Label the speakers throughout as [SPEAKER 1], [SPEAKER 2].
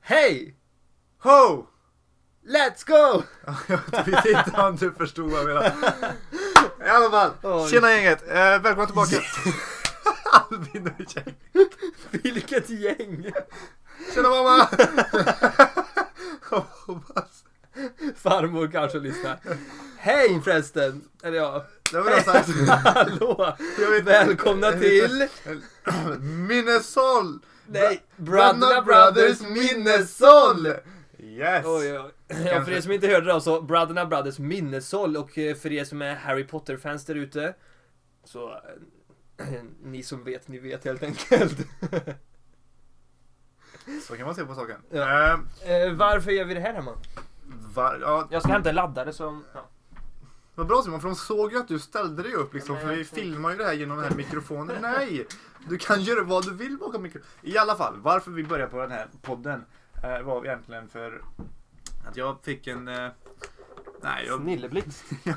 [SPEAKER 1] Hej! Ho! Let's go!
[SPEAKER 2] Jag vet inte om du förstod vad jag menade. I alla fall.
[SPEAKER 1] Oj.
[SPEAKER 2] Tjena gänget. Eh, välkomna tillbaka. Albin och Jack.
[SPEAKER 1] Vilket gäng!
[SPEAKER 2] Tjena mamma. Jag hoppas.
[SPEAKER 1] Farmor kanske lyssnar. Hej förresten! Eller ja,
[SPEAKER 2] Det var bra sagt.
[SPEAKER 1] hallå!
[SPEAKER 2] Jag vet-
[SPEAKER 1] Välkomna till...
[SPEAKER 2] Minnesol.
[SPEAKER 1] Nej, Bröderna
[SPEAKER 2] Bröderna
[SPEAKER 1] Brothers Minnesol!
[SPEAKER 2] Yes.
[SPEAKER 1] Oj, oj, oj. Ja, för
[SPEAKER 2] Kanske.
[SPEAKER 1] er som inte hörde det då, så Bröderna Brothers Minnesol och eh, för er som är Harry Potter-fans där ute så eh, ni som vet, ni vet helt enkelt.
[SPEAKER 2] Så kan man se på saken.
[SPEAKER 1] Ja.
[SPEAKER 2] Eh,
[SPEAKER 1] Eh, varför gör vi det här hemma?
[SPEAKER 2] var, ja,
[SPEAKER 1] Jag ska hämta en laddare som... Ja.
[SPEAKER 2] Vad bra Simon, för de såg ju att du ställde dig upp liksom,
[SPEAKER 1] Ja, men
[SPEAKER 2] för
[SPEAKER 1] jag
[SPEAKER 2] vi
[SPEAKER 1] tror-
[SPEAKER 2] filmar ju det här genom den här mikrofonen. Nej! Du kan göra vad du vill bakom mikrofonen. I alla fall, varför vi började på den här podden eh, var egentligen för att jag fick en... eh, Nej, jag,
[SPEAKER 1] Snilleblixt.
[SPEAKER 2] jag,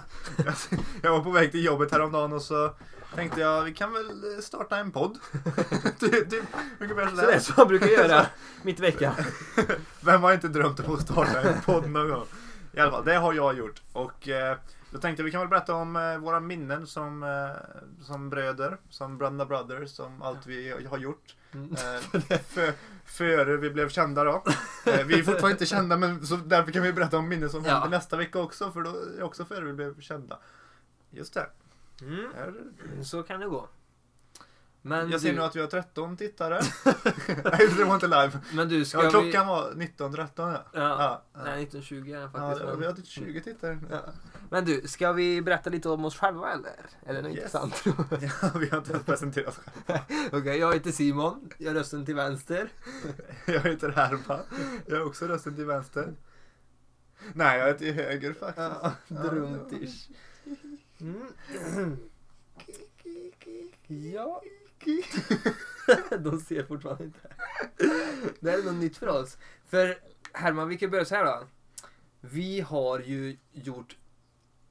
[SPEAKER 2] jag var på väg till jobbet häromdagen och så tänkte jag, vi kan väl eh, starta en podd. typ, typ ungefär
[SPEAKER 1] Så det är
[SPEAKER 2] sådär.
[SPEAKER 1] så jag brukar göra mitt vecka.
[SPEAKER 2] Vem har inte drömt om att starta en podd någon gång? I alla fall, det har jag gjort. Och eh, då tänkte jag vi kan väl berätta om eh, våra minnen som, eh, som bröder, som Bröderna Brothers, som allt vi har gjort.
[SPEAKER 1] Mm.
[SPEAKER 2] Eh, för, före vi blev kända då. Eh, vi är fortfarande inte kända men så därför kan vi berätta om minnen som
[SPEAKER 1] Ja.
[SPEAKER 2] händer nästa vecka också för då är också före vi blev kända. Just det.
[SPEAKER 1] Mm.
[SPEAKER 2] Här-
[SPEAKER 1] Så kan det gå. Men
[SPEAKER 2] Jag ser
[SPEAKER 1] du,
[SPEAKER 2] nu att vi har 13 tittare. Nej, det var inte live.
[SPEAKER 1] men du ska
[SPEAKER 2] Ja,
[SPEAKER 1] vi...
[SPEAKER 2] klockan var 19.13 ja.
[SPEAKER 1] Ja.
[SPEAKER 2] ja. ja.
[SPEAKER 1] Nej, 1920 är
[SPEAKER 2] Ja,
[SPEAKER 1] faktiskt.
[SPEAKER 2] det- vi
[SPEAKER 1] men...
[SPEAKER 2] har typ 20 tittare.
[SPEAKER 1] Ja. men du, ska vi berätta lite om oss själva eller? Är det något
[SPEAKER 2] Yes.
[SPEAKER 1] intressant?
[SPEAKER 2] Ja, vi har inte ens presenterat oss själva.
[SPEAKER 1] Okej, jag heter Simon. Jag är rösten till vänster.
[SPEAKER 2] Jag heter Herman. Jag är också rösten till vänster. Nej, jag är till höger faktiskt.
[SPEAKER 1] Druntish. Mm. Ja. De ser fortfarande inte. Det här är något nytt för oss. För Herman, vi kan börja så här då. Vi har ju gjort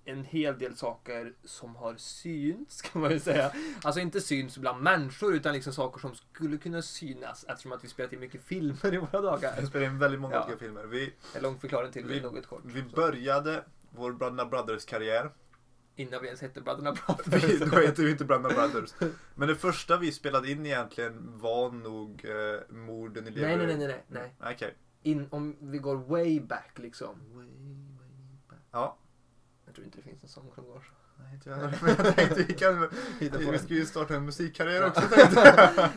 [SPEAKER 1] en hel del saker som har synts kan man ju säga. Alltså inte syns bland människor utan liksom saker som skulle kunna synas eftersom att vi spelat in mycket filmer i våra dagar.
[SPEAKER 2] Vi spelar in väldigt många
[SPEAKER 1] Ja.
[SPEAKER 2] olika filmer. Vi,
[SPEAKER 1] En lång förklaring till
[SPEAKER 2] Vi-
[SPEAKER 1] vi, något kort.
[SPEAKER 2] vi började vår Bröderna Brothers-karriär.
[SPEAKER 1] Innan vi ens hette Bröderna
[SPEAKER 2] Vi-
[SPEAKER 1] Brothers.
[SPEAKER 2] Då heter vi inte Bröderna Brothers. Men det första vi spelade in egentligen var nog eh, Morden i
[SPEAKER 1] Nej,
[SPEAKER 2] Leveröd.
[SPEAKER 1] nej, nej, nej, nej, nej.
[SPEAKER 2] Okej.
[SPEAKER 1] In, om vi går way back liksom.
[SPEAKER 2] Ja.
[SPEAKER 1] Jag tror inte det finns en sång som går så.
[SPEAKER 2] Nej, inte jag. Men jag tänkte vi kan...
[SPEAKER 1] Hitta på
[SPEAKER 2] Vi
[SPEAKER 1] den.
[SPEAKER 2] ska ju starta en musikkarriär också.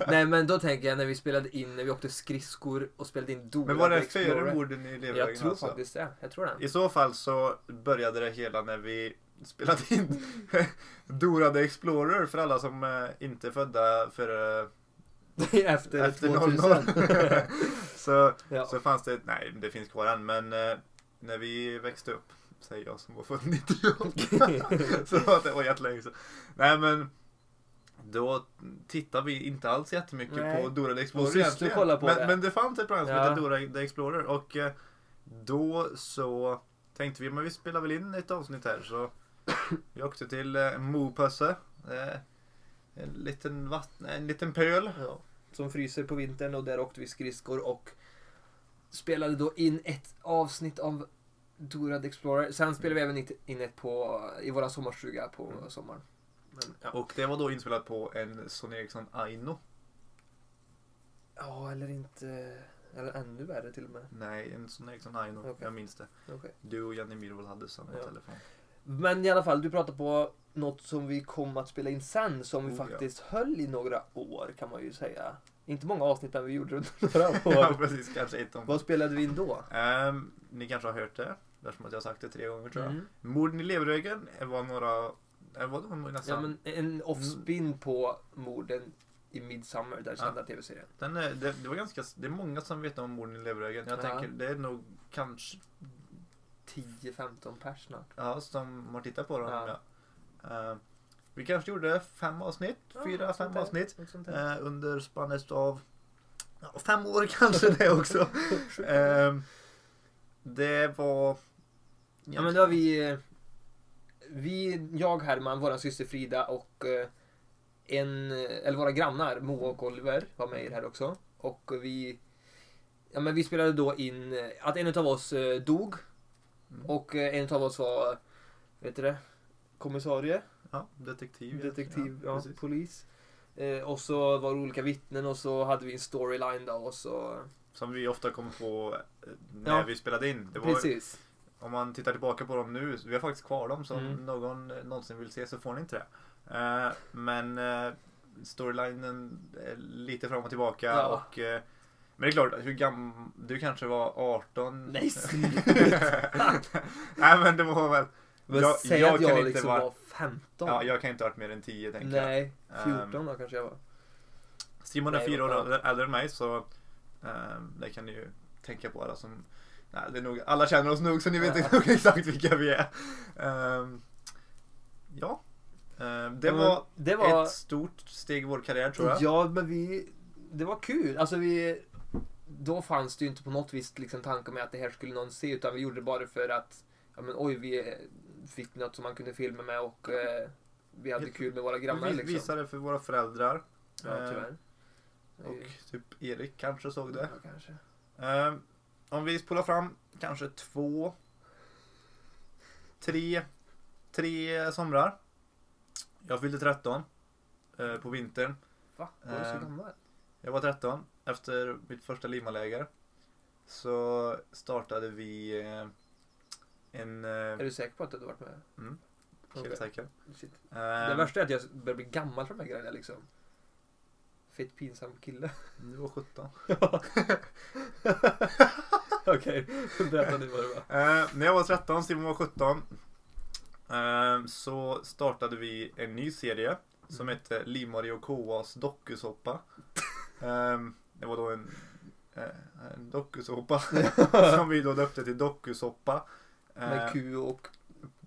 [SPEAKER 1] Nej men då tänker jag när vi spelade in, när vi åkte skridskor och spelade in Dora
[SPEAKER 2] Men var det
[SPEAKER 1] the Explorer.
[SPEAKER 2] före Morden i Leveröd?
[SPEAKER 1] Jag tror
[SPEAKER 2] alltså?
[SPEAKER 1] faktiskt det. Jag tror det.
[SPEAKER 2] I så fall så började det hela när vi spelade in Dora the Explorer för alla som eh, inte är födda före
[SPEAKER 1] Det är efter,
[SPEAKER 2] efter
[SPEAKER 1] 2000.
[SPEAKER 2] 00. så,
[SPEAKER 1] ja.
[SPEAKER 2] så fanns det, nej det finns kvar än, men eh, när vi växte upp, säger jag som var född 98, så var det var jättelänge sedan. Nej men, då tittade vi inte alls jättemycket
[SPEAKER 1] Nej.
[SPEAKER 2] på Dora the Explorer
[SPEAKER 1] syster kollade på
[SPEAKER 2] men,
[SPEAKER 1] det.
[SPEAKER 2] men det fanns ett program som
[SPEAKER 1] Ja.
[SPEAKER 2] hette Dora the Explorer och eh, då så tänkte vi, men vi spelar väl in ett avsnitt här så vi åkte till eh, Mopösse. Eh, en liten, vatten, en liten pöl.
[SPEAKER 1] Ja. Som fryser på vintern och där åkte vi skridskor och spelade då in ett avsnitt av Dora the Explorer. Sen spelade vi även in- in ett på, i våra sommarstuga på
[SPEAKER 2] Mm.
[SPEAKER 1] sommaren. Men, ja.
[SPEAKER 2] Och det var då inspelat på en Sony Ericsson Aino.
[SPEAKER 1] Ja, eller inte... Eller ännu värre till och med.
[SPEAKER 2] Nej, en Sony Ericsson Aino.
[SPEAKER 1] Okej.
[SPEAKER 2] Jag minns det.
[SPEAKER 1] Okej.
[SPEAKER 2] Du och Janne Myhrvold hade samma
[SPEAKER 1] Ja.
[SPEAKER 2] telefon.
[SPEAKER 1] Men i alla fall, du pratade på något som vi kom att spela in sen som vi
[SPEAKER 2] Oh, ja.
[SPEAKER 1] faktiskt höll i några år kan man ju säga. Inte många avsnitt men vi gjorde det några
[SPEAKER 2] ja,
[SPEAKER 1] år.
[SPEAKER 2] precis. Kanske ett om.
[SPEAKER 1] Vad spelade vi in då?
[SPEAKER 2] Ehm, ni kanske har hört det. Eftersom att jag har sagt det tre gånger tror jag.
[SPEAKER 1] Mm.
[SPEAKER 2] Morden i Leverögen var några... eh, Var det nästan?
[SPEAKER 1] Ja, men en offspin på morden i Midsummer, där kända tv-serien.
[SPEAKER 2] Den är, det, det var ganska... Det är många som vet om Morden i Leverögen. Jag
[SPEAKER 1] Ja.
[SPEAKER 2] tänker det är nog kanske...
[SPEAKER 1] 10-15 pers snart.
[SPEAKER 2] Ja, som har tittat på dem.
[SPEAKER 1] Ja.
[SPEAKER 2] Ja. Ehm, vi kanske gjorde fem avsnitt. fyra,
[SPEAKER 1] något sånt
[SPEAKER 2] fem
[SPEAKER 1] där.
[SPEAKER 2] avsnitt.
[SPEAKER 1] Något sånt där.
[SPEAKER 2] Eh, under spannet av ja, fem år kanske det också. Ehm, det var...
[SPEAKER 1] Ja men då har vi, eh, vi, jag, Herman, våran syster Frida och eh, en, eh, eller våra grannar Moa och Oliver var med i det här också. Och vi Ja, men vi spelade då in eh, att en av oss eh, dog.
[SPEAKER 2] Mm.
[SPEAKER 1] Och eh, en av oss var, vet du det? Kommissarie?
[SPEAKER 2] Ja, detektiv.
[SPEAKER 1] Detektiv, ja,
[SPEAKER 2] precis.
[SPEAKER 1] polis. Eh, och så var det olika vittnen och så hade vi en storyline då och så...
[SPEAKER 2] Som vi ofta kom på eh, när
[SPEAKER 1] Ja.
[SPEAKER 2] vi spelade in. Det var,
[SPEAKER 1] Precis.
[SPEAKER 2] om man tittar tillbaka på dem nu, vi har faktiskt kvar dem så
[SPEAKER 1] Mm.
[SPEAKER 2] om någon eh, någonsin vill se så får ni inte det. Eh, men eh, storylinen är lite fram och tillbaka
[SPEAKER 1] Ja.
[SPEAKER 2] och eh, men det är klart, hur gammal... Du kanske var 18?
[SPEAKER 1] Nej, sluta!
[SPEAKER 2] Nej men det var väl...
[SPEAKER 1] Men
[SPEAKER 2] Jag-
[SPEAKER 1] säg
[SPEAKER 2] jag
[SPEAKER 1] att
[SPEAKER 2] kan
[SPEAKER 1] jag
[SPEAKER 2] inte
[SPEAKER 1] liksom
[SPEAKER 2] vara-
[SPEAKER 1] var 15.
[SPEAKER 2] Ja, jag kan inte ha varit mer än 10 tänker jag.
[SPEAKER 1] Nej,
[SPEAKER 2] Ehm,
[SPEAKER 1] 14 då kanske jag var.
[SPEAKER 2] Simon är
[SPEAKER 1] Nej,
[SPEAKER 2] fyra år
[SPEAKER 1] ja.
[SPEAKER 2] äldre- äldre än mig så eh, det kan ni ju tänka på alla som... Nej, det är nog, alla känner oss nog så ni vet
[SPEAKER 1] Ja.
[SPEAKER 2] nog exakt vilka vi är. Ehm, ja, Eh, det,
[SPEAKER 1] Ja, men
[SPEAKER 2] var
[SPEAKER 1] det var-
[SPEAKER 2] ett stort steg i vår karriär tror jag.
[SPEAKER 1] Ja, men vi... Det var kul. Alltså vi... Då fanns det ju inte på något vis liksom tanke med att det här skulle någon se utan vi gjorde det bara för att ja, men, oj, vi eh, fick något som man kunde filma med och eh, vi hade
[SPEAKER 2] Helt-
[SPEAKER 1] kul med våra grannar
[SPEAKER 2] vi
[SPEAKER 1] liksom.
[SPEAKER 2] visade för våra föräldrar
[SPEAKER 1] Ja,
[SPEAKER 2] Eh,
[SPEAKER 1] tyvärr.
[SPEAKER 2] och typ Erik kanske såg det.
[SPEAKER 1] Ja, kanske.
[SPEAKER 2] Ehm, om vi spolar fram kanske två, tre, tre somrar. Jag fyllde 13 eh, på vintern.
[SPEAKER 1] Va? Var du
[SPEAKER 2] Ehm,
[SPEAKER 1] så gammal?
[SPEAKER 2] Jag var 13 efter mitt första Limaläger. Så startade vi eh, en... Eh,
[SPEAKER 1] Är du säker på att du hade varit med?
[SPEAKER 2] Mm.
[SPEAKER 1] Okej,
[SPEAKER 2] Kirseker.
[SPEAKER 1] shit. Det
[SPEAKER 2] Ehm,
[SPEAKER 1] värsta är att jag börjar bli gammal för de här grejerna liksom. Fett pinsam kille.
[SPEAKER 2] Ehm, Du var 17.
[SPEAKER 1] Okej, berätta nu vad det var.
[SPEAKER 2] Eh, när jag var 13, Simon var 17. ehm, så startade vi en ny serie som
[SPEAKER 1] Mm.
[SPEAKER 2] hette Limari och Koas dokusåpa. Ehm, det var då en, eh, en dokusåpa som vi då döpte till dokusåpa.
[SPEAKER 1] Med
[SPEAKER 2] Ehm,
[SPEAKER 1] Q och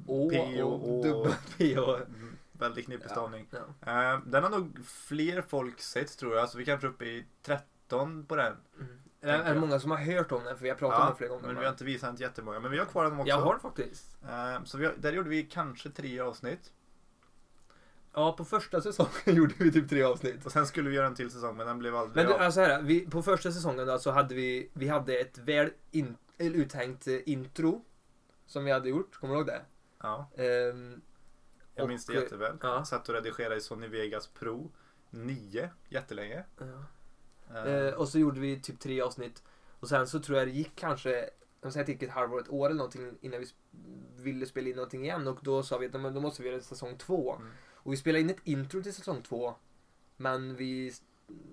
[SPEAKER 1] Å
[SPEAKER 2] P
[SPEAKER 1] och
[SPEAKER 2] och-
[SPEAKER 1] dubbel-P och...
[SPEAKER 2] mm, väldigt knepig
[SPEAKER 1] Ja.
[SPEAKER 2] stavning.
[SPEAKER 1] Ja.
[SPEAKER 2] Ehm, den har nog fler folk sett tror jag, så vi kanske är uppe i 13 på den.
[SPEAKER 1] Mm. Är,
[SPEAKER 2] Tänker
[SPEAKER 1] är det
[SPEAKER 2] jag.
[SPEAKER 1] många som har hört om den? För jag pratat om den flera gånger.
[SPEAKER 2] men
[SPEAKER 1] va?
[SPEAKER 2] vi har inte visat den till jättemånga, men vi har kvar den också.
[SPEAKER 1] Jag har den faktiskt.
[SPEAKER 2] Ehm, så vi har, där gjorde vi kanske tre avsnitt.
[SPEAKER 1] Ja, på första säsongen gjorde vi typ tre avsnitt.
[SPEAKER 2] Och sen skulle vi göra en till säsong men den blev aldrig
[SPEAKER 1] Men du,
[SPEAKER 2] av.
[SPEAKER 1] alltså här, vi, på första säsongen då, så hade vi, vi hade ett väl in, eller uthängt eh, intro. Som vi hade gjort, kommer du ihåg det?
[SPEAKER 2] Ja,
[SPEAKER 1] Ehm,
[SPEAKER 2] jag
[SPEAKER 1] och,
[SPEAKER 2] minns det
[SPEAKER 1] eh,
[SPEAKER 2] jätteväl.
[SPEAKER 1] ja.
[SPEAKER 2] Satt och redigerade i Sony Vegas Pro 9 jättelänge.
[SPEAKER 1] ja.
[SPEAKER 2] Eh,
[SPEAKER 1] Eh, och så gjorde vi typ tre avsnitt. Och sen så tror jag det gick kanske, jag säger att det gick ett halvår, ett år eller någonting innan vi sp- ville spela in någonting igen. Och då sa vi att "Men då måste vi göra säsong två.
[SPEAKER 2] Mm.
[SPEAKER 1] Och vi spelade in ett intro till säsong två. Men vi s-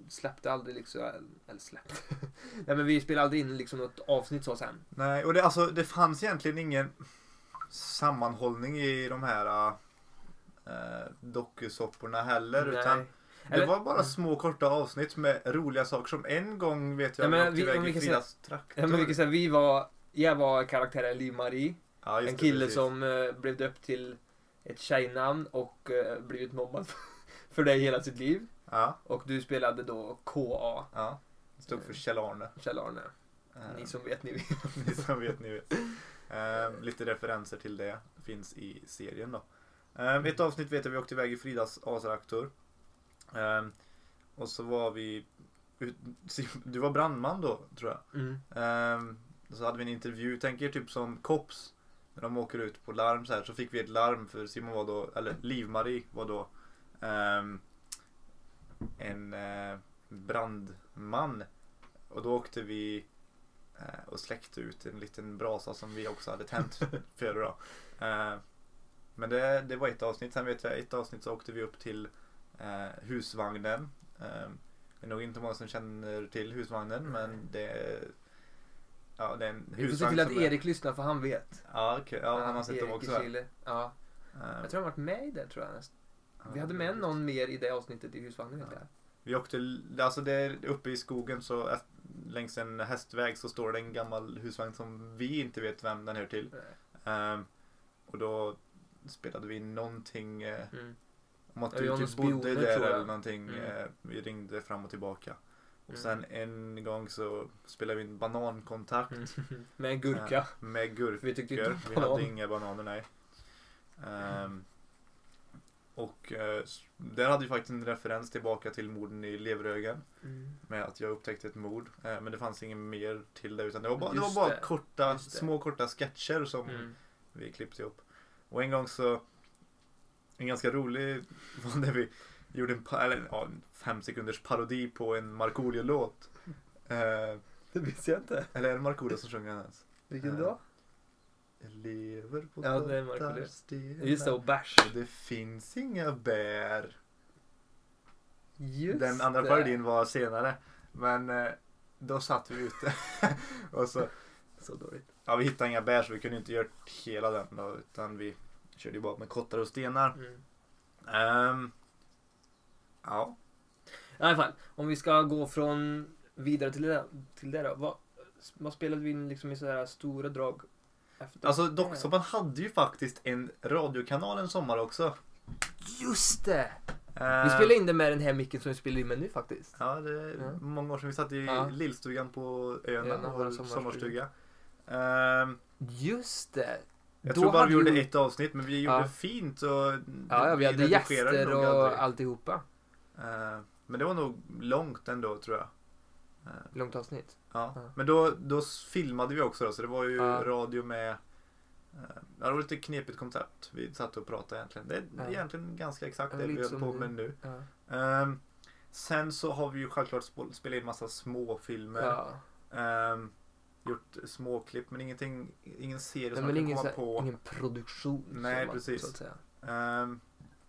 [SPEAKER 1] släppte aldrig liksom, eller släppte. Nej men vi spelade aldrig in liksom något avsnitt så sen.
[SPEAKER 2] Nej, och det, alltså, det fanns egentligen ingen sammanhållning i de här eh, dokusåporna heller.
[SPEAKER 1] Nej.
[SPEAKER 2] Utan det
[SPEAKER 1] Eller- Mm.
[SPEAKER 2] var bara små korta avsnitt med roliga saker som en gång vet jag
[SPEAKER 1] Ja, men
[SPEAKER 2] vi åkte
[SPEAKER 1] vi-
[SPEAKER 2] iväg
[SPEAKER 1] om vi
[SPEAKER 2] i
[SPEAKER 1] kan
[SPEAKER 2] Fridas traktor.
[SPEAKER 1] Ja, men vi kan säga, vi var, jag var karaktären Liv-Marie.
[SPEAKER 2] Ja, just
[SPEAKER 1] en
[SPEAKER 2] det,
[SPEAKER 1] kille
[SPEAKER 2] precis.
[SPEAKER 1] som eh, blev döpt till ett tjejnamn och eh, blivit mobbad för det hela sitt liv.
[SPEAKER 2] Ja,
[SPEAKER 1] Och du spelade då KA,
[SPEAKER 2] ja. Stod för Kjell-Arne.
[SPEAKER 1] Kjell-Arne.
[SPEAKER 2] Eh,
[SPEAKER 1] Ni som vet, ni vet.
[SPEAKER 2] ni som vet, ni vet. Eh, lite referenser till det finns i serien då. Eh, ett avsnitt vet jag vi åkte iväg i Fridas asraktor. Eh, och så var vi... ut- Du var brandman då, tror jag.
[SPEAKER 1] Mm.
[SPEAKER 2] Ehm, så hade vi en intervju, tänk er typ som Kops. När de åker ut på larm så här så fick vi ett larm för Simon var då, eller Liv-Marie var då ehm, en eh, brandman. Och då åkte vi eh, och släckte ut en liten brasa som vi också hade tänt för då. Eh, men det, det var ett avsnitt. Sen vet jag ett avsnitt så åkte vi upp till eh, husvagnen. Eh, det är nog inte många som känner till husvagnen men det är, ja, det är en
[SPEAKER 1] Vi får se till
[SPEAKER 2] som
[SPEAKER 1] att
[SPEAKER 2] är-
[SPEAKER 1] Erik lyssnar för han vet.
[SPEAKER 2] Ja, okej. ja han har sett dem
[SPEAKER 1] Erik i
[SPEAKER 2] också. va?
[SPEAKER 1] Chile. Ja.
[SPEAKER 2] Eh,
[SPEAKER 1] Jag tror han varit med i det tror jag. nästan. Vi
[SPEAKER 2] ja.
[SPEAKER 1] hade med någon mer i det avsnittet i husvagnen vet
[SPEAKER 2] Ja.
[SPEAKER 1] jag.
[SPEAKER 2] Vi åkte, alltså det är uppe i skogen så att- längs en hästväg så står det en gammal husvagn som vi inte vet vem den hör till. Ehm, och då spelade vi någonting eh,
[SPEAKER 1] Mm.
[SPEAKER 2] om att
[SPEAKER 1] Ja, vi var
[SPEAKER 2] du
[SPEAKER 1] någon
[SPEAKER 2] typ
[SPEAKER 1] spioner,
[SPEAKER 2] bodde
[SPEAKER 1] tror jag.
[SPEAKER 2] där eller någonting.
[SPEAKER 1] Mm.
[SPEAKER 2] Eh, vi ringde fram och tillbaka. Och
[SPEAKER 1] Mm.
[SPEAKER 2] sen en gång så spelade vi en banankontakt
[SPEAKER 1] Mm. Med en gurka.
[SPEAKER 2] eh, med
[SPEAKER 1] För vi
[SPEAKER 2] gurkor.
[SPEAKER 1] tyckte inte om
[SPEAKER 2] Vi hade
[SPEAKER 1] banan.
[SPEAKER 2] inga bananer, nej. Ehm, Och eh, s- den hade ju faktiskt en referens tillbaka till morden i Leverögen.
[SPEAKER 1] Mm.
[SPEAKER 2] Med att jag upptäckte ett mord. Eh, men det fanns ingen mer till det. Utan det var bara, det var
[SPEAKER 1] Just
[SPEAKER 2] bara
[SPEAKER 1] det.
[SPEAKER 2] korta,
[SPEAKER 1] Just det.
[SPEAKER 2] små korta sketcher som
[SPEAKER 1] Mm.
[SPEAKER 2] vi klippte ihop. Och en gång så, en ganska rolig var när vi gjorde en, pa- eller, ja, en fem sekunders parodi på en Markoolio-låt. Eh,
[SPEAKER 1] Det visste jag inte.
[SPEAKER 2] eller är det Markoolio som sjunger den ens?
[SPEAKER 1] Vilken då?
[SPEAKER 2] Jag lever på
[SPEAKER 1] Ja, det är Markoolio.
[SPEAKER 2] tottarstenar.
[SPEAKER 1] Just det, och bärs.
[SPEAKER 2] Och det finns inga bär.
[SPEAKER 1] Just
[SPEAKER 2] Den andra
[SPEAKER 1] det.
[SPEAKER 2] parodin var senare. Men eh, då satt vi ute. och så,
[SPEAKER 1] Så dåligt.
[SPEAKER 2] ja, vi hittade inga bär så vi kunde inte göra hela den då, utan vi körde ju bara med kottar och stenar.
[SPEAKER 1] Mm.
[SPEAKER 2] Ehm, ja,
[SPEAKER 1] I alla fall, om vi ska gå från vidare till det, till det då. Vad, vad spelade vi in liksom i sådär stora drag? Efter?
[SPEAKER 2] alltså Docksåpan hade ju faktiskt en radiokanal en sommar också.
[SPEAKER 1] Just det!
[SPEAKER 2] Ehm,
[SPEAKER 1] Vi spelade in det med den här micken som vi spelar in med nu faktiskt.
[SPEAKER 2] Ja, det är
[SPEAKER 1] Mm.
[SPEAKER 2] många år sedan vi satt i
[SPEAKER 1] Ja.
[SPEAKER 2] lillstugan på Öna,
[SPEAKER 1] Öna,
[SPEAKER 2] vår
[SPEAKER 1] vår
[SPEAKER 2] sommarstuga.
[SPEAKER 1] sommarstuga.
[SPEAKER 2] Ehm,
[SPEAKER 1] Just det!
[SPEAKER 2] jag
[SPEAKER 1] Då
[SPEAKER 2] tror bara
[SPEAKER 1] hade
[SPEAKER 2] vi gjorde
[SPEAKER 1] ju-
[SPEAKER 2] ett avsnitt, men vi gjorde
[SPEAKER 1] Ja.
[SPEAKER 2] fint och
[SPEAKER 1] Ja, ja vi hade
[SPEAKER 2] redigerade
[SPEAKER 1] gäster
[SPEAKER 2] nog
[SPEAKER 1] och
[SPEAKER 2] aldrig.
[SPEAKER 1] alltihopa.
[SPEAKER 2] Eh, Men det var nog långt ändå tror jag. Eh,
[SPEAKER 1] Långt avsnitt.
[SPEAKER 2] Ja.
[SPEAKER 1] Ja.
[SPEAKER 2] Men då, då s- filmade vi också då, så det var ju
[SPEAKER 1] Ja.
[SPEAKER 2] radio med... eh, ja, Det var lite knepigt koncept. Vi satt och pratade egentligen. Det är
[SPEAKER 1] Ja.
[SPEAKER 2] egentligen ganska exakt
[SPEAKER 1] Ja,
[SPEAKER 2] det vi
[SPEAKER 1] lite
[SPEAKER 2] höll
[SPEAKER 1] som
[SPEAKER 2] på
[SPEAKER 1] vi-
[SPEAKER 2] med nu.
[SPEAKER 1] Ja.
[SPEAKER 2] Ehm, Sen så har vi ju självklart sp- spelat in massa småfilmer.
[SPEAKER 1] ja.
[SPEAKER 2] Ehm, gjort småklipp men ingenting, ingen serie
[SPEAKER 1] Nej,
[SPEAKER 2] som man
[SPEAKER 1] men
[SPEAKER 2] kan
[SPEAKER 1] ingen,
[SPEAKER 2] komma
[SPEAKER 1] såhär,
[SPEAKER 2] på.
[SPEAKER 1] ingen produktion.
[SPEAKER 2] Nej,
[SPEAKER 1] som man-
[SPEAKER 2] precis.
[SPEAKER 1] Så att säga.
[SPEAKER 2] Ehm,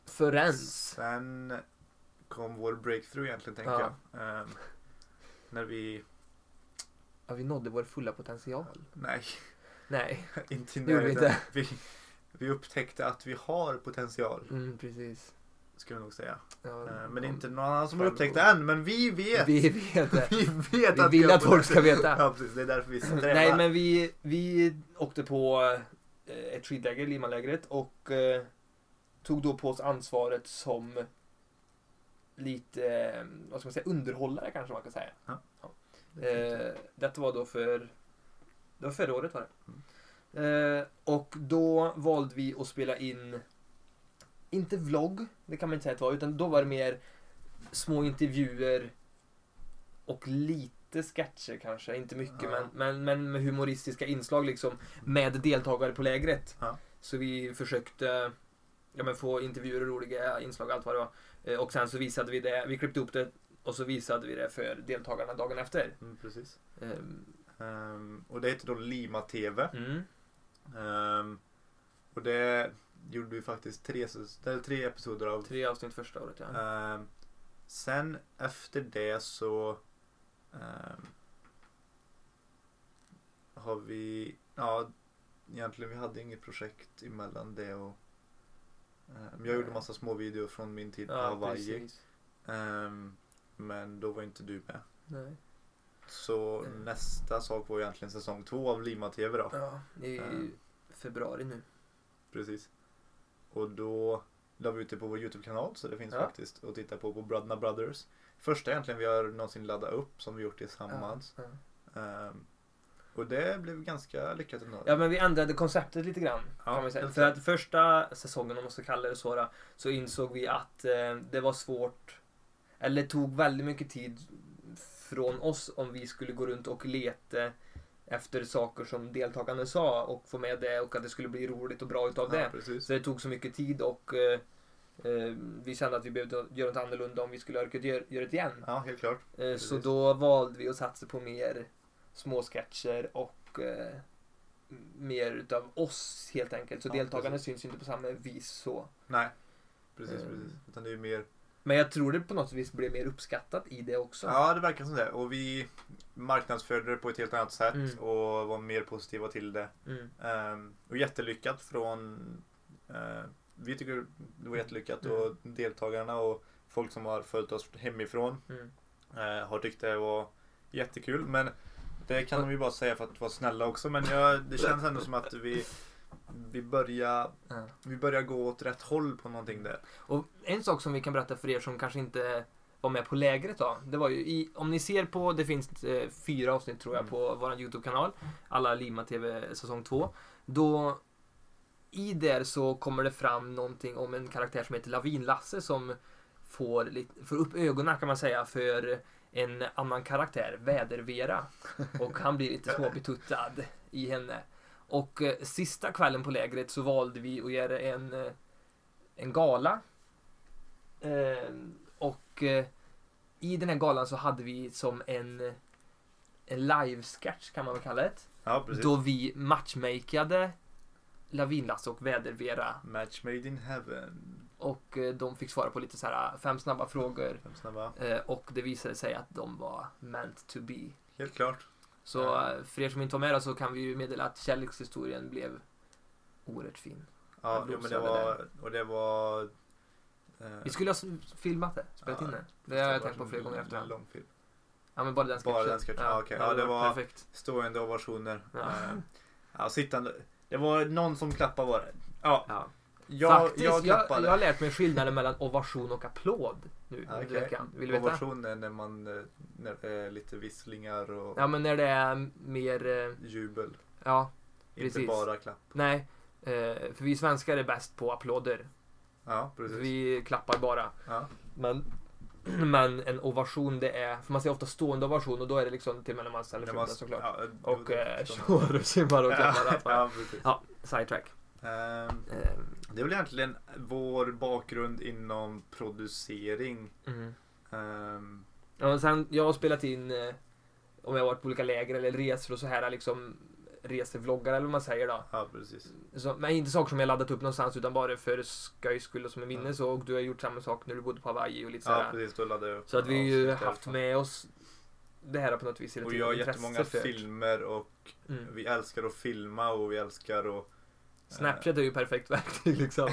[SPEAKER 1] Förrän.
[SPEAKER 2] sen kom vår breakthrough egentligen tänker
[SPEAKER 1] Ja.
[SPEAKER 2] jag. Ehm, när vi,
[SPEAKER 1] Ja, vi nådde vår fulla potential.
[SPEAKER 2] nej,
[SPEAKER 1] Nej,
[SPEAKER 2] inte i
[SPEAKER 1] det gjorde vi
[SPEAKER 2] närheten.
[SPEAKER 1] inte.
[SPEAKER 2] Vi, vi upptäckte att vi har potential,
[SPEAKER 1] Mm, precis.
[SPEAKER 2] ska vi nog säga.
[SPEAKER 1] Ja,
[SPEAKER 2] Ehm, men det är
[SPEAKER 1] om-
[SPEAKER 2] inte någon annan som har
[SPEAKER 1] Mm. Fan,
[SPEAKER 2] upptäckt det
[SPEAKER 1] vad-
[SPEAKER 2] än, men vi vet!
[SPEAKER 1] Vi vet det.
[SPEAKER 2] vi vet
[SPEAKER 1] Vi vill
[SPEAKER 2] har
[SPEAKER 1] att folk ska veta.
[SPEAKER 2] Ja, precis. Det är därför vi strävar.
[SPEAKER 1] Nej, men vi, vi åkte på eh, ett skidläger i Limalägret och eh, tog då på oss ansvaret som lite, eh, vad ska man säga, underhållare kanske man kan säga. Eh, detta var då för, det var förra året var det. Eh, och då valde vi att spela in, inte vlogg, det kan man inte säga att det var, utan då var det mer små intervjuer och lite sketcher kanske, inte mycket
[SPEAKER 2] Ja.
[SPEAKER 1] men, men, men med humoristiska inslag liksom med deltagare på lägret.
[SPEAKER 2] Ja.
[SPEAKER 1] Så vi försökte ja, men få intervjuer och roliga inslag allt vad det var. Eh, Och sen så visade vi det, vi klippte ihop det och så visade vi det för deltagarna dagen efter.
[SPEAKER 2] Mm, precis.
[SPEAKER 1] Ehm,
[SPEAKER 2] Ehm, och det heter då Lima TV.
[SPEAKER 1] Mm.
[SPEAKER 2] Ehm, och det gjorde vi faktiskt tre, säs- eller tre episoder av.
[SPEAKER 1] Tre avsnitt första året ja.
[SPEAKER 2] Ehm, sen efter det så ehm, har vi, ja egentligen vi hade inget projekt emellan det och ehm, jag gjorde massa små videor från min tid på Hawaii.
[SPEAKER 1] precis.
[SPEAKER 2] Ehm, men då var inte du med.
[SPEAKER 1] Nej.
[SPEAKER 2] Så
[SPEAKER 1] Mm.
[SPEAKER 2] nästa sak var egentligen säsong två av Lima TV då.
[SPEAKER 1] Ja, det är ju
[SPEAKER 2] Ehm.
[SPEAKER 1] februari nu.
[SPEAKER 2] Precis. Och då la vi ut det på vår YouTube-kanal så det finns
[SPEAKER 1] Ja.
[SPEAKER 2] faktiskt att titta på på Bröderna Brothers. Första egentligen vi har någonsin laddat upp som vi gjort tillsammans.
[SPEAKER 1] Ja.
[SPEAKER 2] Ehm, och det blev ganska lyckat ändå.
[SPEAKER 1] Ja men vi ändrade konceptet lite grann.
[SPEAKER 2] Ja,
[SPEAKER 1] kan man säga.
[SPEAKER 2] helt
[SPEAKER 1] För att första säsongen om man ska kalla det så då, så insåg vi att eh, det var svårt. Eller tog väldigt mycket tid från oss om vi skulle gå runt och leta efter saker som deltagarna sa och få med det och att det skulle bli roligt och bra utav det.
[SPEAKER 2] Ja, precis.
[SPEAKER 1] Så det tog så mycket tid och eh, eh, vi kände att vi behövde göra något annorlunda om vi skulle orka göra, göra det igen.
[SPEAKER 2] Ja, helt klart.
[SPEAKER 1] Eh, så
[SPEAKER 2] precis.
[SPEAKER 1] då valde vi att satsa på mer små sketcher och eh, mer utav oss helt enkelt. Så
[SPEAKER 2] Ja,
[SPEAKER 1] deltagarna
[SPEAKER 2] precis.
[SPEAKER 1] syns ju inte på samma vis så.
[SPEAKER 2] Nej, precis,
[SPEAKER 1] Ehm.
[SPEAKER 2] precis. Utan det är ju mer...
[SPEAKER 1] Men jag tror det på något vis blev mer uppskattat i det också.
[SPEAKER 2] Ja, det verkar som det. Och vi marknadsförde det på ett helt annat sätt
[SPEAKER 1] Mm.
[SPEAKER 2] och var mer positiva till det.
[SPEAKER 1] Mm.
[SPEAKER 2] Ehm, och jättelyckat från... eh, vi tycker det var jättelyckat
[SPEAKER 1] Mm.
[SPEAKER 2] och deltagarna och folk som har följt oss hemifrån
[SPEAKER 1] Mm.
[SPEAKER 2] eh, har tyckt det var jättekul. Men det kan de ju bara säga för att vara snälla också. Men jag, det känns ändå som att vi, vi, börjar,
[SPEAKER 1] Ja.
[SPEAKER 2] vi börjar gå åt rätt håll på någonting där.
[SPEAKER 1] Och en sak som vi kan berätta för er som kanske inte var med på lägret då. Det var ju i, om ni ser på, det finns eh, fyra avsnitt tror jag
[SPEAKER 2] Mm.
[SPEAKER 1] på vår Youtube-kanal. Alla Lima TV säsong 2. Då i där så kommer det fram någonting om en karaktär som heter Lavin-Lasse som får, lite, får upp ögonen kan man säga för en annan karaktär, Väder-Vera. Och han blir lite småbetuttad i henne. Och eh, sista kvällen på lägret så valde vi att göra en, eh, en gala. Eh, och eh, i den här galan så hade vi som en, en live-sketch kan man väl kalla det.
[SPEAKER 2] Ja, precis.
[SPEAKER 1] Då vi matchmakade Lavinlasse och Väder-Vera.
[SPEAKER 2] Match made in heaven.
[SPEAKER 1] Och eh, de fick svara på lite så här eh, fem snabba frågor.
[SPEAKER 2] Fem snabba.
[SPEAKER 1] Eh, Och det visade sig att de var meant to be.
[SPEAKER 2] Helt klart.
[SPEAKER 1] Så
[SPEAKER 2] Ja.
[SPEAKER 1] eh, för er som inte var med då så kan vi ju meddela att kärlekshistorien blev oerhört fin.
[SPEAKER 2] Ja,
[SPEAKER 1] Jag
[SPEAKER 2] jo, men det
[SPEAKER 1] rosade
[SPEAKER 2] var... Och det var... eh,
[SPEAKER 1] Vi skulle ha s- filmat det, spelat
[SPEAKER 2] Ja,
[SPEAKER 1] in det.
[SPEAKER 2] det
[SPEAKER 1] Det har
[SPEAKER 2] var
[SPEAKER 1] jag tänkt på
[SPEAKER 2] en
[SPEAKER 1] flera gånger
[SPEAKER 2] lång-
[SPEAKER 1] efterhand.
[SPEAKER 2] lång film.
[SPEAKER 1] Ja men bara den sketchen.
[SPEAKER 2] Bara den sketchen, ja, okej. Ja,
[SPEAKER 1] hade
[SPEAKER 2] det
[SPEAKER 1] varit
[SPEAKER 2] var-
[SPEAKER 1] Perfekt.
[SPEAKER 2] Stående ovationer.
[SPEAKER 1] Ja.
[SPEAKER 2] Eh, Ja, sittande. Det var någon som klappade var det. Ja,
[SPEAKER 1] Ja.
[SPEAKER 2] jag,
[SPEAKER 1] Faktiskt,
[SPEAKER 2] jag
[SPEAKER 1] jag, jag,
[SPEAKER 2] klappade.
[SPEAKER 1] har lärt mig skillnaden mellan ovation och applåd nu
[SPEAKER 2] Ja,
[SPEAKER 1] under
[SPEAKER 2] Ah, okej.
[SPEAKER 1] veckan. Vill du veta?
[SPEAKER 2] Ovation är när man... eh, När det är lite visslingar och
[SPEAKER 1] Ja men när det är mer, eh,
[SPEAKER 2] jubel.
[SPEAKER 1] ja,
[SPEAKER 2] Inte
[SPEAKER 1] Precis.
[SPEAKER 2] bara klapp.
[SPEAKER 1] nej. Eh, För vi svenskar är bäst på applåder.
[SPEAKER 2] Ja, precis.
[SPEAKER 1] Vi klappar bara.
[SPEAKER 2] Ja.
[SPEAKER 1] Men, men en ovation det är, för man ser ofta stående ovation och då är det liksom till och med när man ställer
[SPEAKER 2] När
[SPEAKER 1] skjortan
[SPEAKER 2] man-
[SPEAKER 1] såklart.
[SPEAKER 2] ja,
[SPEAKER 1] Och
[SPEAKER 2] det-
[SPEAKER 1] eh,
[SPEAKER 2] det-
[SPEAKER 1] tjoar och simmar och klappar. Ja.
[SPEAKER 2] Ja, precis.
[SPEAKER 1] ja, sidetrack.
[SPEAKER 2] Ehm,
[SPEAKER 1] Ehm,
[SPEAKER 2] Det är väl egentligen vår bakgrund inom producering.
[SPEAKER 1] Mm.
[SPEAKER 2] Ehm,
[SPEAKER 1] Ja, men sen, jag har spelat in, eh, om jag har varit på olika läger eller resor och så här liksom resevloggar eller vad man säger då.
[SPEAKER 2] Ja, precis.
[SPEAKER 1] Så, men inte saker som jag laddat upp någonstans utan bara för skojs skull och som en minne
[SPEAKER 2] Mm.
[SPEAKER 1] så. Och du har gjort samma sak när du bodde på Hawaii och lite
[SPEAKER 2] Ja,
[SPEAKER 1] sådär.
[SPEAKER 2] precis. Då laddade jag upp
[SPEAKER 1] så att vi har ju
[SPEAKER 2] avsnitt
[SPEAKER 1] haft
[SPEAKER 2] därifrån.
[SPEAKER 1] med oss det här på något vis hela
[SPEAKER 2] Och
[SPEAKER 1] tiden.
[SPEAKER 2] jag har
[SPEAKER 1] Intresse
[SPEAKER 2] jättemånga
[SPEAKER 1] för-
[SPEAKER 2] filmer och
[SPEAKER 1] Mm.
[SPEAKER 2] vi älskar att filma och vi älskar att... eh,
[SPEAKER 1] Snapchat är ju perfekt verktyg liksom.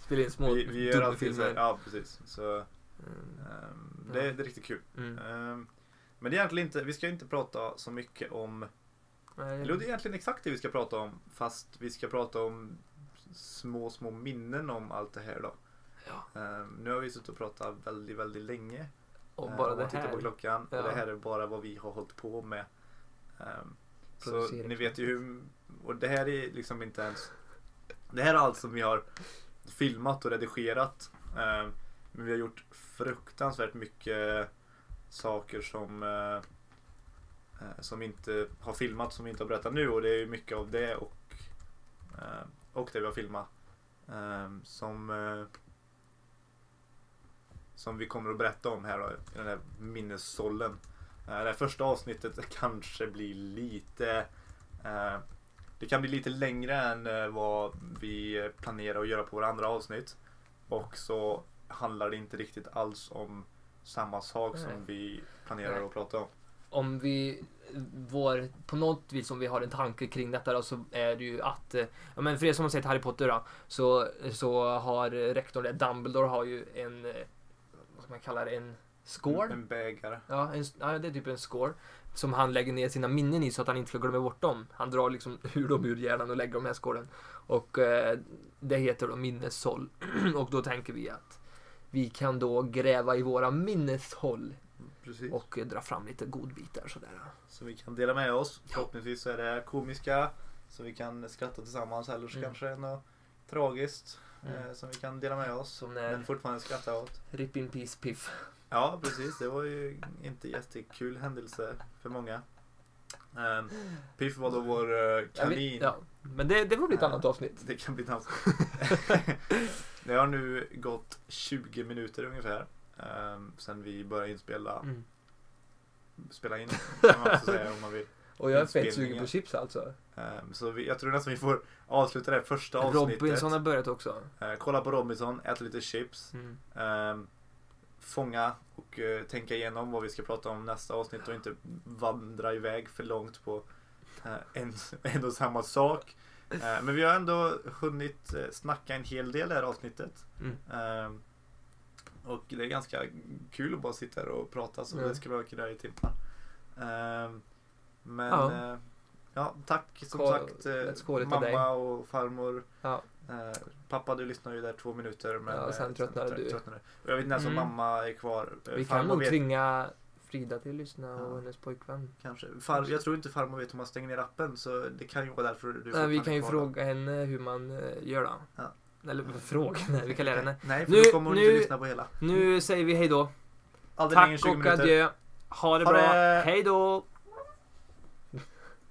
[SPEAKER 1] Spela in små
[SPEAKER 2] Vi, vi gör alltid så här,
[SPEAKER 1] dubbelfilmer.
[SPEAKER 2] Ja, precis. Så
[SPEAKER 1] Mm,
[SPEAKER 2] ehm, det, det är riktigt kul.
[SPEAKER 1] mm.
[SPEAKER 2] Ehm, men det är egentligen inte, vi ska ju inte prata så mycket
[SPEAKER 1] Mm.
[SPEAKER 2] om
[SPEAKER 1] Nej,
[SPEAKER 2] Eller det är egentligen exakt det vi ska prata om fast vi ska prata om små, små minnen om allt det här då.
[SPEAKER 1] Ja.
[SPEAKER 2] Ehm, nu har vi suttit och pratat väldigt, väldigt länge.
[SPEAKER 1] Och
[SPEAKER 2] Ehm,
[SPEAKER 1] bara
[SPEAKER 2] om
[SPEAKER 1] det
[SPEAKER 2] man tittar på
[SPEAKER 1] här.
[SPEAKER 2] klockan.
[SPEAKER 1] Ja.
[SPEAKER 2] Och det här är bara vad vi har hållit på med. Ehm, så
[SPEAKER 1] Producering.
[SPEAKER 2] ni vet ju hur, och det här är liksom inte ens, det här är allt som vi har filmat och redigerat. Ehm, men vi har gjort fruktansvärt mycket saker som eh, eh, som inte har filmat som vi inte har berättat nu och det är ju mycket av det och eh, och det vi har filmat eh, som eh, som vi kommer att berätta om här då, i den här minnessollen. Eh, det här första avsnittet kanske blir lite eh, det kan bli lite längre än eh, vad vi planerar att göra på våra andra avsnitt och så handlar det inte riktigt alls om samma sak
[SPEAKER 1] Nej.
[SPEAKER 2] som vi planerar
[SPEAKER 1] Nej.
[SPEAKER 2] att prata om.
[SPEAKER 1] Om vi, vår, på något vis om vi har en tanke kring detta då, så är det ju att, eh, ja men för er som har sett Harry Potter då, så, så har eh, rektorn där, Dumbledore har ju en, eh, vad ska man kalla det, en skål.
[SPEAKER 2] En bägare.
[SPEAKER 1] Ja, en, ja, det är typ en score. Som han lägger ner sina minnen i så att han inte ska glömma bort dem. Han drar liksom ur dem ur hjärnan och lägger dem i den här skålen. Och eh, det heter då minneshåll. och då tänker vi att vi kan då gräva i våra minneshåll
[SPEAKER 2] Precis.
[SPEAKER 1] och eh, dra fram lite godbitar sådär.
[SPEAKER 2] Som vi kan dela med oss. Förhoppningsvis så är det komiska. Så vi kan skratta tillsammans eller så
[SPEAKER 1] Mm.
[SPEAKER 2] kanske det är något tragiskt.
[SPEAKER 1] Mm.
[SPEAKER 2] Eh, som vi kan dela med oss.
[SPEAKER 1] Som när-
[SPEAKER 2] Men fortfarande skratta åt.
[SPEAKER 1] Rip in peace piff.
[SPEAKER 2] Ja precis, det var ju inte jättekul händelse för många. Ehm, Piff var då vår eh,
[SPEAKER 1] Ja, vi-
[SPEAKER 2] kanin.
[SPEAKER 1] Ja, men det, det får bli ett
[SPEAKER 2] Ja.
[SPEAKER 1] annat avsnitt.
[SPEAKER 2] Det kan bli dans. det har nu gått 20 minuter ungefär. Um, sen vi började inspela.
[SPEAKER 1] Mm.
[SPEAKER 2] Spela in kan man också säga om man vill.
[SPEAKER 1] Och jag är fett
[SPEAKER 2] Inspelningen.
[SPEAKER 1] sugen på chips alltså.
[SPEAKER 2] Ehm, så vi, jag tror nästan vi får avsluta det här första avsnittet.
[SPEAKER 1] Robinson har börjat också.
[SPEAKER 2] Eh, kolla på Robinson, äta lite chips.
[SPEAKER 1] Mm.
[SPEAKER 2] ehm, fånga och eh, tänka igenom vad vi ska prata om nästa avsnitt och inte vandra iväg för långt på eh, en, en och samma sak. Eh, men vi har ändå hunnit eh, snacka en hel del i det här avsnittet.
[SPEAKER 1] Mm.
[SPEAKER 2] Ehm, och det är ganska kul att bara sitta här och prata så
[SPEAKER 1] Ja.
[SPEAKER 2] vi ska vara kunna göra i timmar. Ehm, men
[SPEAKER 1] Ja.
[SPEAKER 2] ja. ja, tack som
[SPEAKER 1] Skål-
[SPEAKER 2] sagt
[SPEAKER 1] ett
[SPEAKER 2] eh,
[SPEAKER 1] skål utav
[SPEAKER 2] mamma
[SPEAKER 1] dig.
[SPEAKER 2] och farmor.
[SPEAKER 1] Ja.
[SPEAKER 2] Eh, pappa du lyssnar ju där två minuter men
[SPEAKER 1] Ja, och sen
[SPEAKER 2] eh,
[SPEAKER 1] tröttnade
[SPEAKER 2] trö-
[SPEAKER 1] du.
[SPEAKER 2] tröttnade. Och jag vet inte ens om
[SPEAKER 1] Mm.
[SPEAKER 2] mamma är kvar. Eh,
[SPEAKER 1] Vi kan
[SPEAKER 2] farmor
[SPEAKER 1] nog
[SPEAKER 2] vet-
[SPEAKER 1] tvinga Frida till lyssna och
[SPEAKER 2] Ja.
[SPEAKER 1] hennes pojkvän.
[SPEAKER 2] Kanske. Far, jag tror inte farmor vet hur man stänger ner appen så det kan ju vara därför du
[SPEAKER 1] Nej, Eh, vi
[SPEAKER 2] fortfarande
[SPEAKER 1] kan ju
[SPEAKER 2] kvar
[SPEAKER 1] fråga henne hur man eh, gör då.
[SPEAKER 2] Ja.
[SPEAKER 1] Eller fråga henne, vi kan lära henne.
[SPEAKER 2] där. Nej, för
[SPEAKER 1] Nu-
[SPEAKER 2] nu, då kommer hon
[SPEAKER 1] nu-
[SPEAKER 2] inte lyssna på hela.
[SPEAKER 1] Nu säger vi hej då.
[SPEAKER 2] Mm. Aldrig längre än
[SPEAKER 1] Tack
[SPEAKER 2] 20
[SPEAKER 1] och
[SPEAKER 2] minuter.
[SPEAKER 1] adjö. Ha det
[SPEAKER 2] Ha
[SPEAKER 1] bra.
[SPEAKER 2] det.
[SPEAKER 1] Hej då.